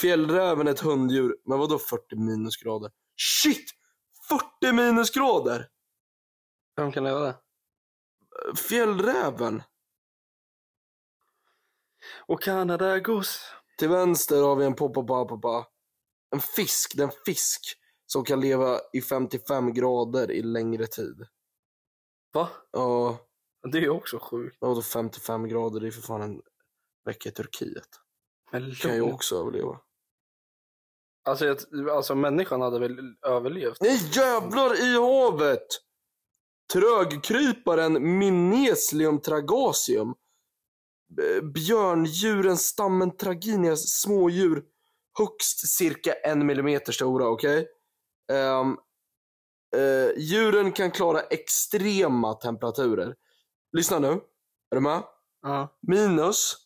B: Fjällräven är ett hunddjur, men vadå 40 minusgrader? Shit! 40 minusgrader!
A: Vem kan leva det?
B: Fjällräven!
A: Och Kanadagos.
B: Till vänster har vi en popopapapa. En fisk, det är en fisk som kan leva i 55 grader i längre tid.
A: Va?
B: Ja,
A: Det är ju också sjukt.
B: vadå 55 grader? Det är för fan en vecka i Turkiet.
A: Men
B: Kan ju
A: lugn.
B: också överleva.
A: Alltså, jag, alltså, människan hade väl överlevt?
B: Nej jävlar i havet! Trögkryparen Minneslium tragasium. B- Björndjuren stammen Traginias smådjur. Högst cirka en millimeter stora, okej? Ehm, eh, djuren kan klara extrema temperaturer. Lyssna nu. Är du med?
A: Ja.
B: Minus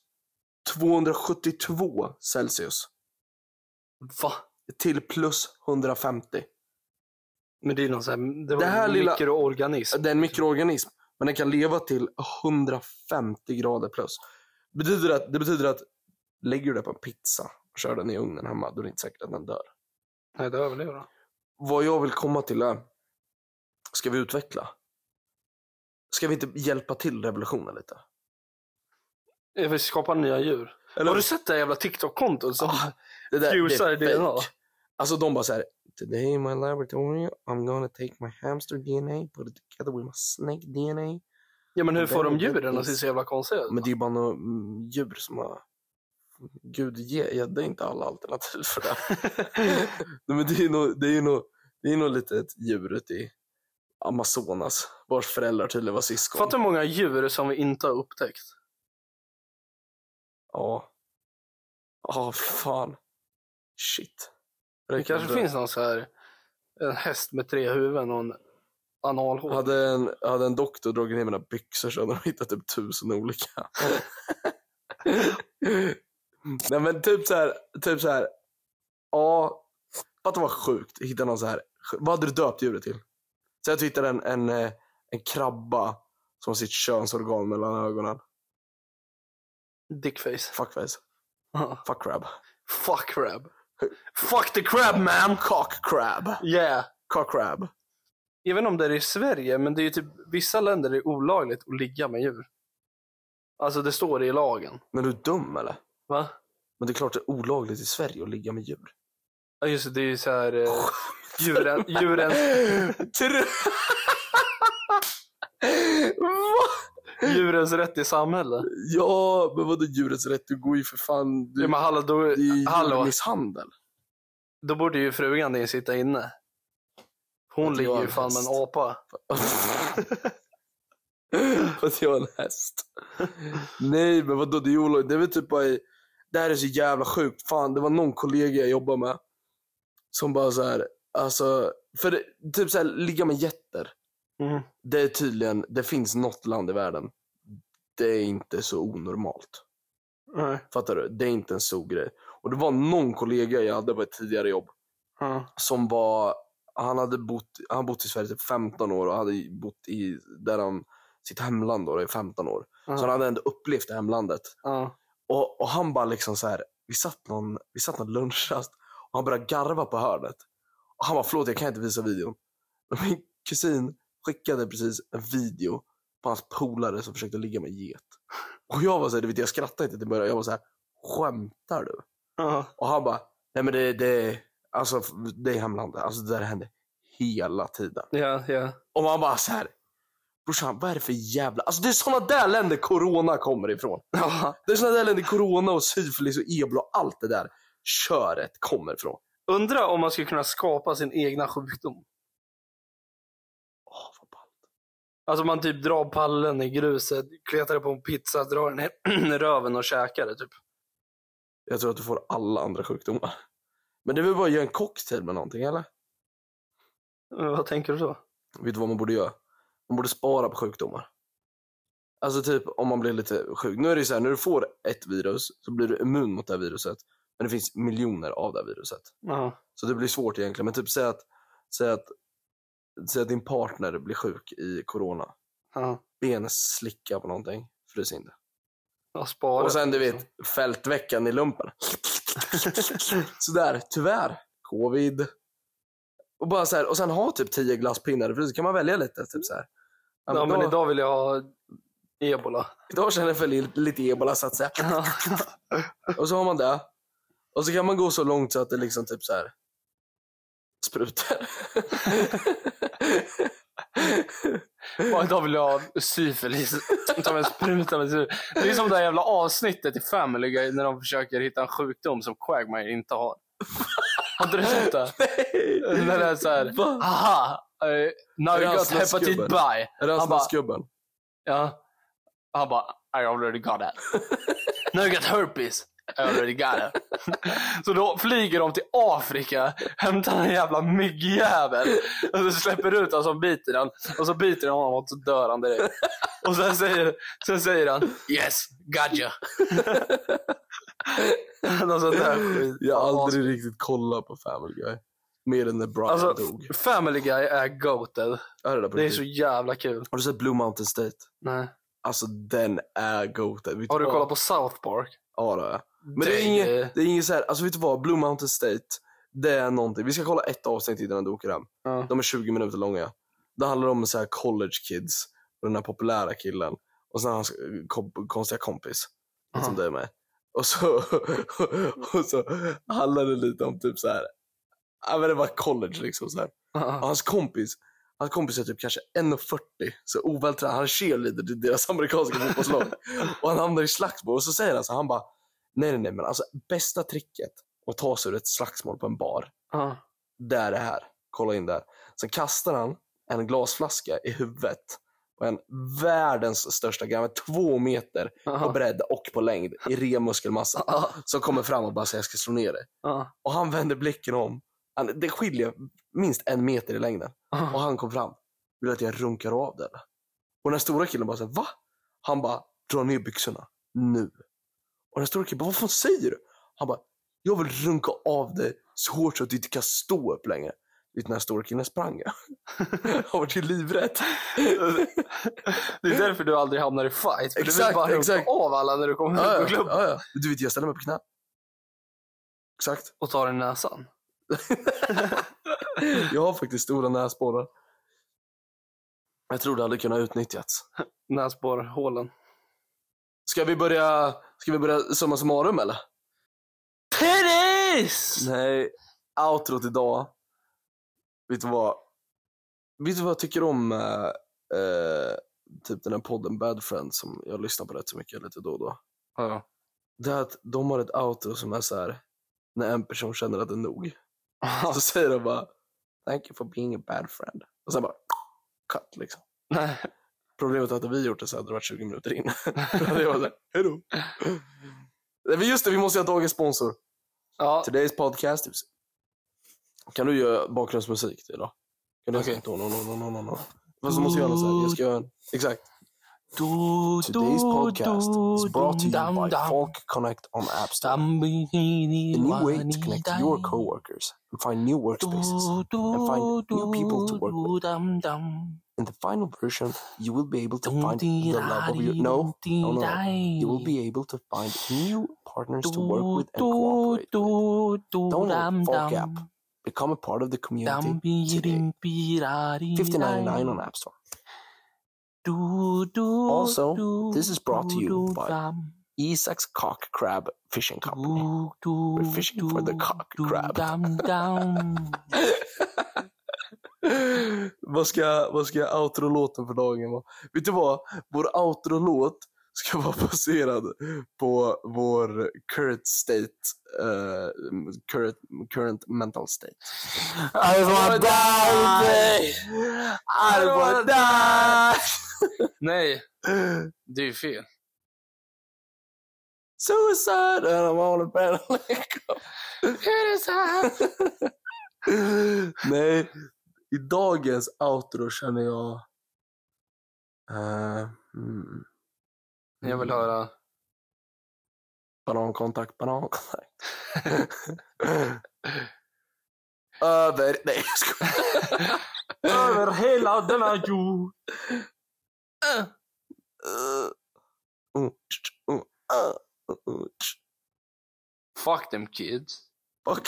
B: 272 Celsius
A: Va?
B: till plus 150.
A: Men det är någon sån här, det var
B: Det här
A: en
B: lilla-
A: mikroorganism.
B: Det är en mikroorganism, men den kan leva till 150 grader plus. Betyder att, det betyder att lägger du det på en pizza och kör den i ugnen hemma, då är det inte säkert att den dör.
A: Nej, det överlever han.
B: Vad jag vill komma till är, ska vi utveckla? Ska vi inte hjälpa till revolutionen lite?
A: Jag vill skapa nya djur.
B: Eller-
A: Har du sett det här jävla TikTok-kontot? som-
B: Ah, det där,
A: Fusar
B: det är
A: DNA.
B: fake. Alltså de bara så här, today in my laboratory I'm gonna take my hamster DNA, put it together with my snake DNA.
A: Ja, men hur
B: det
A: får de
B: är-
A: djuren
B: det är-
A: att se så jävla konstiga ut?
B: Men det är ju bara några mm, djur som har... Gud ge, gädda är inte alla alternativ för det. Nej, men det är ju nå- det är ju nå- det är ju något litet djur ute i Amazonas vars föräldrar tydligen var syskon.
A: Fatta hur många djur som vi inte har upptäckt.
B: Ja. Ja, fan. Shit.
A: Det kanske finns någon så här, en häst med tre huvuden och en analhål.
B: Hade en, hade en doktor dragit ner mina byxor så hade de hittat typ tusen olika. Nej men typ så här, typ så här. Ja, fatta vad sjukt. Hitta någon så här. Vad hade du döpt djuret till? Så jag hittade en, en, eh, en krabba som har sitt könsorgan mellan ögonen.
A: Dickface.
B: Fuckface. Fuck crab.
A: Fuck crab. Fuck the crab man!
B: Cock crab.
A: Yeah!
B: Cock crab.
A: Jag vet inte om det är i Sverige, men det är ju typ vissa länder är det olagligt att ligga med djur. Alltså det står det i lagen.
B: Men är du dum eller?
A: Va?
B: Men det är klart det är olagligt i Sverige att ligga med djur.
A: Ja just det, det är ju så här eh, djuren, djuren,
B: Tro... Va?
A: djurens rätt i samhället.
B: Ja, men vadå djurets rätt? Du går ju för fan... Du,
A: Ja, men hallå, då,
B: det är ju
A: hallå,
B: djurmisshandel.
A: då borde ju frugan din sitta inne.
B: Jag
A: Hon
B: tror jag
A: ligger
B: är
A: ju
B: en
A: fan med en
B: häst.
A: apa.
B: För att jag är en häst. Nej, men vadå det är olagligt. Det är väl typ bara i... Det här är så jävla sjukt. Fan, det var någon kollega jag jobbade med som bara så här... Alltså, för det, typ så här, ligga med jätter.
A: Mm.
B: Det är tydligen, det finns något land i världen. Det är inte så onormalt.
A: Nej.
B: Fattar du? Det är inte en stor grej. Och det var någon kollega jag hade på ett tidigare jobb
A: Ja.
B: som var, han hade bott, han bott i Sverige typ 15 år och hade bott i där han, sitt hemland då, i 15 år. Så han hade ändå upplevt det hemlandet.
A: Ja.
B: Och, och han bara liksom så här, vi satt någon, vi satt någon lunchrast och han började garva på hörnet. Och han bara, förlåt jag kan inte visa videon. Men min kusin skickade precis en video på hans polare som försökte ligga med en get. Och jag var så här, du vet jag skrattade inte till början. Jag var så här, skämtar du?
A: Ja.
B: Och han bara, nej men det, det, alltså, det är hemlandet. Alltså det där händer hela tiden.
A: Ja, ja.
B: Och man bara så här, brorsan vad är det för jävla, alltså det är såna där länder corona kommer ifrån.
A: ja.
B: Det är såna där länder corona och syfilis och ebola och allt det där köret kommer ifrån.
A: Undra om man skulle kunna skapa sin egna sjukdom.
B: Åh, vad ballt.
A: Alltså man typ drar pallen i gruset, kletar på en pizza, drar den i röven och käkar det typ.
B: Jag tror att du får alla andra sjukdomar. Men det är väl bara att göra en cocktail med någonting eller?
A: Men vad tänker du så?
B: Vet du vad man borde göra? Man borde spara på sjukdomar. Alltså typ om man blir lite sjuk. Nu är det ju så här, när du får ett virus så blir du immun mot det här viruset. Men det finns miljoner av det här viruset.
A: Ja.
B: Så det blir svårt egentligen. Men typ säg att, säg att, säg att din partner blir sjuk i corona.
A: Ja.
B: Benet slickar på någonting. Frys in det.
A: Jag sparar.
B: Och sen du vet, fältveckan i lumpen. Sådär, tyvärr. Covid. Och, bara så här, och sen ha typ 10 glasspinnar i frysen. kan man välja lite. Typ så här. Ja,
A: Ja, men
B: idag,
A: idag vill jag ha ebola.
B: idag känner jag för li- lite ebola så att säga.
A: Ja.
B: Och så har man det. Och så kan man gå så långt så att det liksom typ så här sprutar.
A: Och idag vill jag ha syfilis. Ta en spruta med syfilis. Det är som det där jävla avsnittet i Family Guy när de försöker hitta en sjukdom som Quagmire inte har. Har inte du sett det? När det är så här,
B: Va?
A: haha, eh, now
B: Är det
A: you
B: han
A: got hepatit
B: snaskgubben?
A: by.
B: Är det han
A: Han bara-
B: snaskgubben?
A: Ja. Han bara, I already got that. Now you got herpes. I already got it. Så då flyger de till Afrika, hämtar en jävla myggjävel och så släpper ut honom som biter den. Och så biter de honom och så dör han direkt. Och sen säger, sen säger han Yes, gotcha. Alltså, Något sånt där skit.
B: Jag har aldrig riktigt kollat på Family Guy. Mer än när Brian
A: Alltså,
B: dog.
A: Family Guy är goated.
B: Är det där på
A: Det är
B: riktigt?
A: så jävla kul.
B: Har du sett Blue Mountain State?
A: Nej.
B: Alltså den är goated. Vet
A: Har du
B: vad?
A: kollat på South Park?
B: Ja det har jag. Men det är
A: Dig, eh,
B: inget, det är inget så här, alltså vet du vad? Blue Mountain State, det är någonting. Vi ska kolla ett avsnitt innan du åker hem.
A: ja.
B: De är 20 minuter långa. Det handlar om så här college kids och den här populära killen och sen hans kom, konstiga kompis som
A: Aha.
B: du är med. Och så, och så handlar det lite om typ så här. Ja, men det var college liksom så här. Och
A: Ja.
B: hans kompis, hans kompis är typ kanske 1,40. Så ovältränad. Han är cheerleader till deras amerikanska fotbollslag. och han hamnar i slagsmål. Och så säger han så här, han bara, nej nej nej men alltså bästa tricket att ta sig ur ett slagsmål på en bar,
A: Ja.
B: det är det här. Kolla in där. Sen kastar han en glasflaska i huvudet på en världens största granne, två meter på
A: Ja.
B: bredd och på längd i ren muskelmassa.
A: Ja.
B: Som kommer fram och bara säger jag ska slå ner dig.
A: Ja.
B: Och han vänder blicken om. Han, det skiljer minst en meter i längden. Och
A: Ja.
B: han kom fram. Vill du att jag runkar av den? Och den stora killen bara så här, va? Han bara, dra ner byxorna. Nu. Och den stora killen bara, vad fan säger du? Han bara, jag vill runka av dig så hårt så att du inte kan stå upp längre. Vet du när den stora killen sprang? Han var ju livrädd.
A: Det är därför du aldrig hamnar i fight. För du vill
B: Exakt,
A: bara runka
B: exakt.
A: av alla när du kommer ut på
B: ja, ja,
A: klubben
B: ja, ja. Du vet, jag ställer mig på knä. Exakt.
A: och tar den i näsan.
B: Jag har faktiskt stora näsborrar. Jag tror det hade kunnat utnyttjats.
A: Näsborrhålen.
B: Ska vi börja, ska vi börja summa summarum eller?
A: Penis!
B: Nej, outrot idag. Vet du vad? Vet du vad jag tycker om eh, eh, typ den här podden Bad Friends som jag lyssnar på rätt så mycket lite då och då?
A: Ja.
B: Det är att de har ett outro som är så här när en person känner att det är nog. Så säger de bara Thank you for being a bad friend. Och sen bara cut liksom.
A: Nej.
B: Problemet är att hade vi gjort det så hade det varit 20 minuter in. Då hade jag varit där, hejdå. Nej, men just det, vi måste ju ha dagens sponsor.
A: Ja.
B: Today's podcast is... Kan du göra bakgrundsmusik till idag? Kan du
A: Okej.
B: okay. no, no, no, no, no, no. Fast så måste jag göra något så här. Jag ska göra en... Exakt.
A: Du,
B: Today's podcast is brought to you
A: dum,
B: by
A: dum.
B: Folk Connect on App Store, a
A: The
B: new way to connect to your coworkers and find new workspaces. and find new people to work with. In the final version, you will be able to find the love of your no, no, no, no. You will be able to find new partners to work with and cooperate with. Download Folk app. Become a part of the community. today. 15.99 on App Store. Also, this is brought to you by Isaac's Cock Crab Fishing Company.
A: We're
B: fishing for the cock crab. vad, ska, vad ska outro-låten för dagen vara? Vet du vad? Vår outro-låt ska vara baserad på vår current state, eh, current, current mental state.
A: I wanna die!
B: I wanna die!
A: Nej, det är ju fel.
B: Suicide and I'm on a battle Nej, i dagens outro känner jag... eh, mm,
A: Jag vill höra.
B: Banankontakt, banankontakt. Över... Nej, jag skojar.
A: Över hela denna jord.
B: Eh, mm, tsch, mm, ah, mm, mm, tsch.
A: Fuck them kids.
B: Fuck.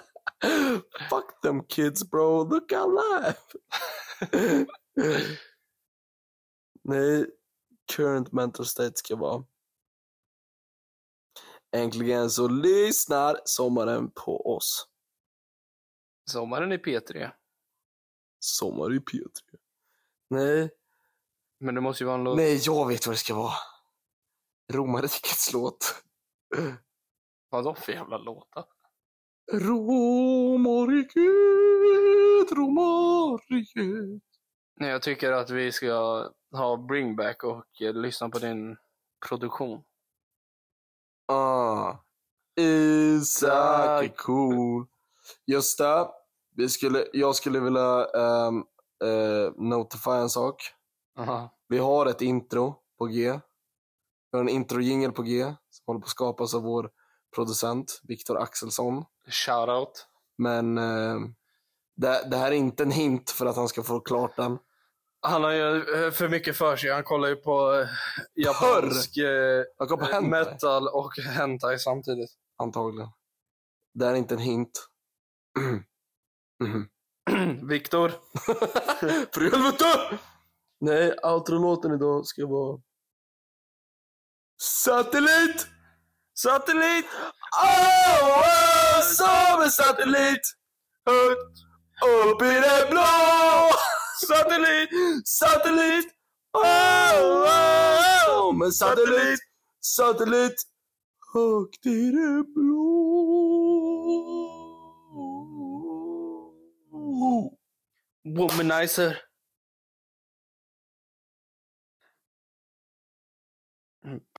B: Fuck them kids, bro. Look alive. Nej, current mental state ska vara. Äntligen så lyssnar sommaren på oss.
A: Sommaren är P3.
B: Sommar i P3. Nej,
A: Men det måste ju vara en låt.
B: nej, jag vet vad det ska vara. Romarrikets låt.
A: Vadå för jävla låta?
B: Romariket, romariket.
A: Nej, jag tycker att vi ska ha bring back och eh, lyssna på din produktion.
B: Ah. Isak är cool. Just det. Vi skulle, jag skulle vilja um, notifiera en sak.
A: Aha.
B: Vi har ett intro på G. Vi har en introjingel på G som håller på att skapas av vår producent Viktor Axelsson.
A: Shoutout.
B: Men eh, det, det här är inte en hint för att han ska få klart den.
A: Han har ju eh, för mycket för sig. Han kollar ju på eh, japansk eh,
B: Vad kommer hända?
A: metal och hentai samtidigt.
B: Antagligen. Det här är inte en hint. Mhm.
A: Mm. Viktor.
B: För i helvete! Nej, outro-låten idag ska vara... Satellit!
A: Satellit!
B: Åh, oh, som en satellit! Högt upp i det blå! Satellit! Satellit! Åh, oh, som en satellit! Satellit! Högt i det blå!
A: Womanizer. Mm,